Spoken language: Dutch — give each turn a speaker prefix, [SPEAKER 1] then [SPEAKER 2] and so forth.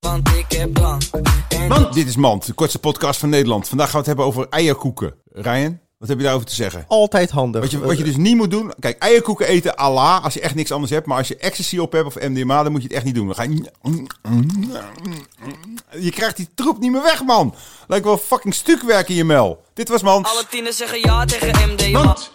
[SPEAKER 1] want ik heb plan. En
[SPEAKER 2] Mand. Dit is Mand, de kortste podcast van Nederland. Vandaag gaan we het hebben over eierkoeken. Ryan, wat heb je daarover te zeggen?
[SPEAKER 3] Altijd handig.
[SPEAKER 2] Wat je, wat je dus niet moet doen. Kijk, eierkoeken eten ala als je echt niks anders hebt. Maar als je ecstasy op hebt of MDMA, dan moet je het echt niet doen. Dan ga je. Je krijgt die troep niet meer weg, man. Lijkt wel fucking stukwerk in je mel. Dit was Mand.
[SPEAKER 1] alle tienen zeggen ja tegen MDMA.